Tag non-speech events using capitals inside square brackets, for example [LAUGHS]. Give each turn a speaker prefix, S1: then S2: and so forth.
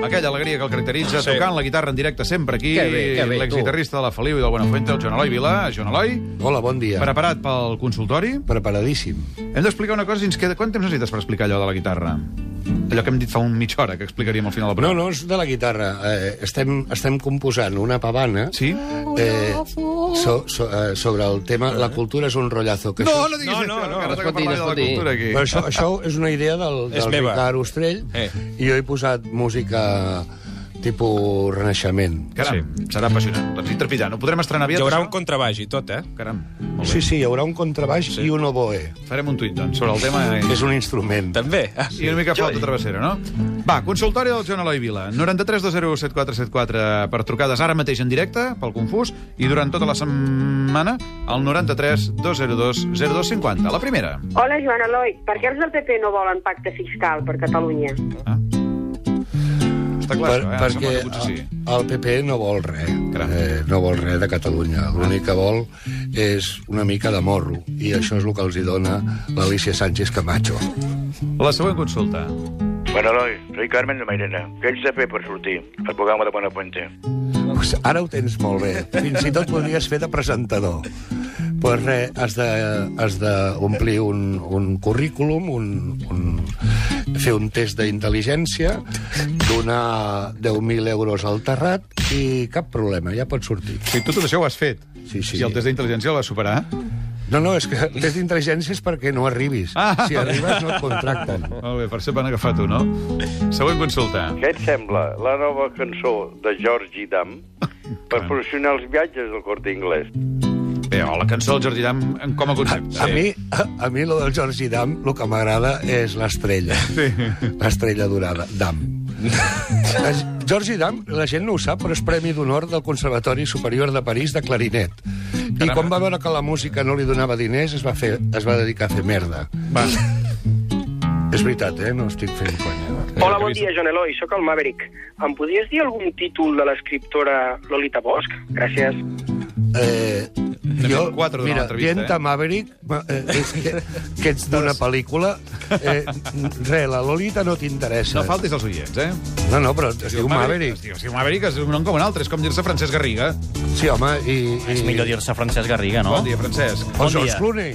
S1: trajectòria que el caracteritza,
S2: Sí.
S1: tocant la guitarra en directe sempre aquí,
S3: Que bé, que bé,
S1: l'exguitarrista de la Feliu i del Buenafuente, el Joan Eloi Vila. Joan Eloi,
S4: Hola, bon dia.
S1: preparat pel consultori.
S4: Preparadíssim.
S1: Hem d'explicar una cosa i ens queda... Quant temps necessites per explicar allò de la guitarra? Allò que hem dit fa un mitja hora, que explicaríem al final del
S4: No,
S1: programa.
S4: no, és de la guitarra. Eh, estem, estem composant una pavana
S1: Sí?
S4: eh, so, so, eh, sobre el tema La cultura és un rotllazo. Que això, és-
S1: diguis
S2: No, no,
S1: això,
S2: no,
S1: que ara
S3: no es pot
S1: que
S3: dir, no es
S1: parlaré de la
S3: pot dir.
S1: cultura aquí.
S4: Però això, això és una idea [LAUGHS] del,
S2: És
S4: del
S2: meva.
S4: Ricard Ostrell
S2: Eh.
S4: i jo he posat música tipus Renaixement.
S1: Caram, serà apassionant. L'hem dit trepidant. No podrem estrenar
S2: Hi
S1: aviat,
S2: haurà un
S1: això?
S2: contrabaix i tot, eh?
S1: Caram, molt bé.
S4: Sí, sí, hi haurà un contrabaix sí. i un oboe.
S1: Farem un tuit, doncs, sobre el tema... eh?
S4: És un instrument.
S2: També. Ah.
S1: I una mica flauta travessera, no? Va, consultori del Joan Eloi Vila. 93 20 7474 per trucades ara mateix en directe, pel Confús, i durant tota la setmana al 93 202 0250. La primera.
S5: Hola, Joan Eloi. Per què els del PP no volen pacte fiscal per Catalunya?
S1: Ah. Està clar,
S4: Per,
S1: això, eh? Ara
S4: perquè
S1: sembla que potser sí.
S4: el PP no vol res,
S1: Caram.
S4: eh, no vol res de Catalunya. L'únic que vol és una mica de morro, i això és el que els hi dona l'Alicia Sánchez Camacho.
S1: La següent consulta.
S6: Bueno, Eloi, soy Carmen de Mairena. Què haig de fer per sortir al programa de Buenafuente?
S4: Pues Ara ho tens molt bé. Fins i tot podries fer de presentador. Pues res, has de- has d'omplir un, un currículum, un, un, fer un test d'intel·ligència, donar 10.000 euros al terrat i cap problema, ja pots sortir.
S1: Si tu tot això ho has fet,
S4: Sí, sí.
S1: si el test d'intel·ligència el vas superar...
S4: No, no, és que el test d'intel·ligència és perquè no arribis.
S1: Ah.
S4: Si arribes no et contracten.
S1: Molt bé, per ser van agafar tu, no? Següent consulta.
S6: Què et sembla la nova cançó de Georgi Dam per promocionar els viatges del Corte Inglés?
S1: Bé, o la cançó del Jordi Dam en- com a concepte.
S4: A mi, a, a mi lo del Georgi Dam, el que m'agrada és l'estrella.
S1: Sí.
S4: L'estrella dorada, Dam. La- Georgi Dam, la gent no ho sap, però és Premi d'Honor del Conservatori Superior de París de clarinet. I quan va veure que la música no li donava diners, es va, fer, es va dedicar a fer merda.
S1: Va.
S4: És veritat, eh? No estic fent conya.
S7: Hola, bon dia, Joan Eloi, sóc el Maverick. Em podries dir algun títol de l'escriptora Lolita Bosch? Gràcies.
S4: Eh,
S1: fet
S4: jo,
S1: quatre durant
S4: mira,
S1: l'entrevista,
S4: Gent
S1: eh?
S4: eh? Maverick, ma- eh, és que, que ets d'una pel·lícula... Eh, re, la Lolita no t'interessa.
S1: No faltis als oients, eh?
S4: no, no, però es diu Maverick.
S1: Es diu, es diu Maverick, és un nom com un altre, és com dir-se Francesc Garriga.
S4: Sí, home, i... i...
S8: És millor dir-se Francesc Garriga,
S1: No?
S8: no?
S1: Bon dia, Francesc.
S4: O
S8: Bon
S4: George
S8: dia.
S4: Clooney.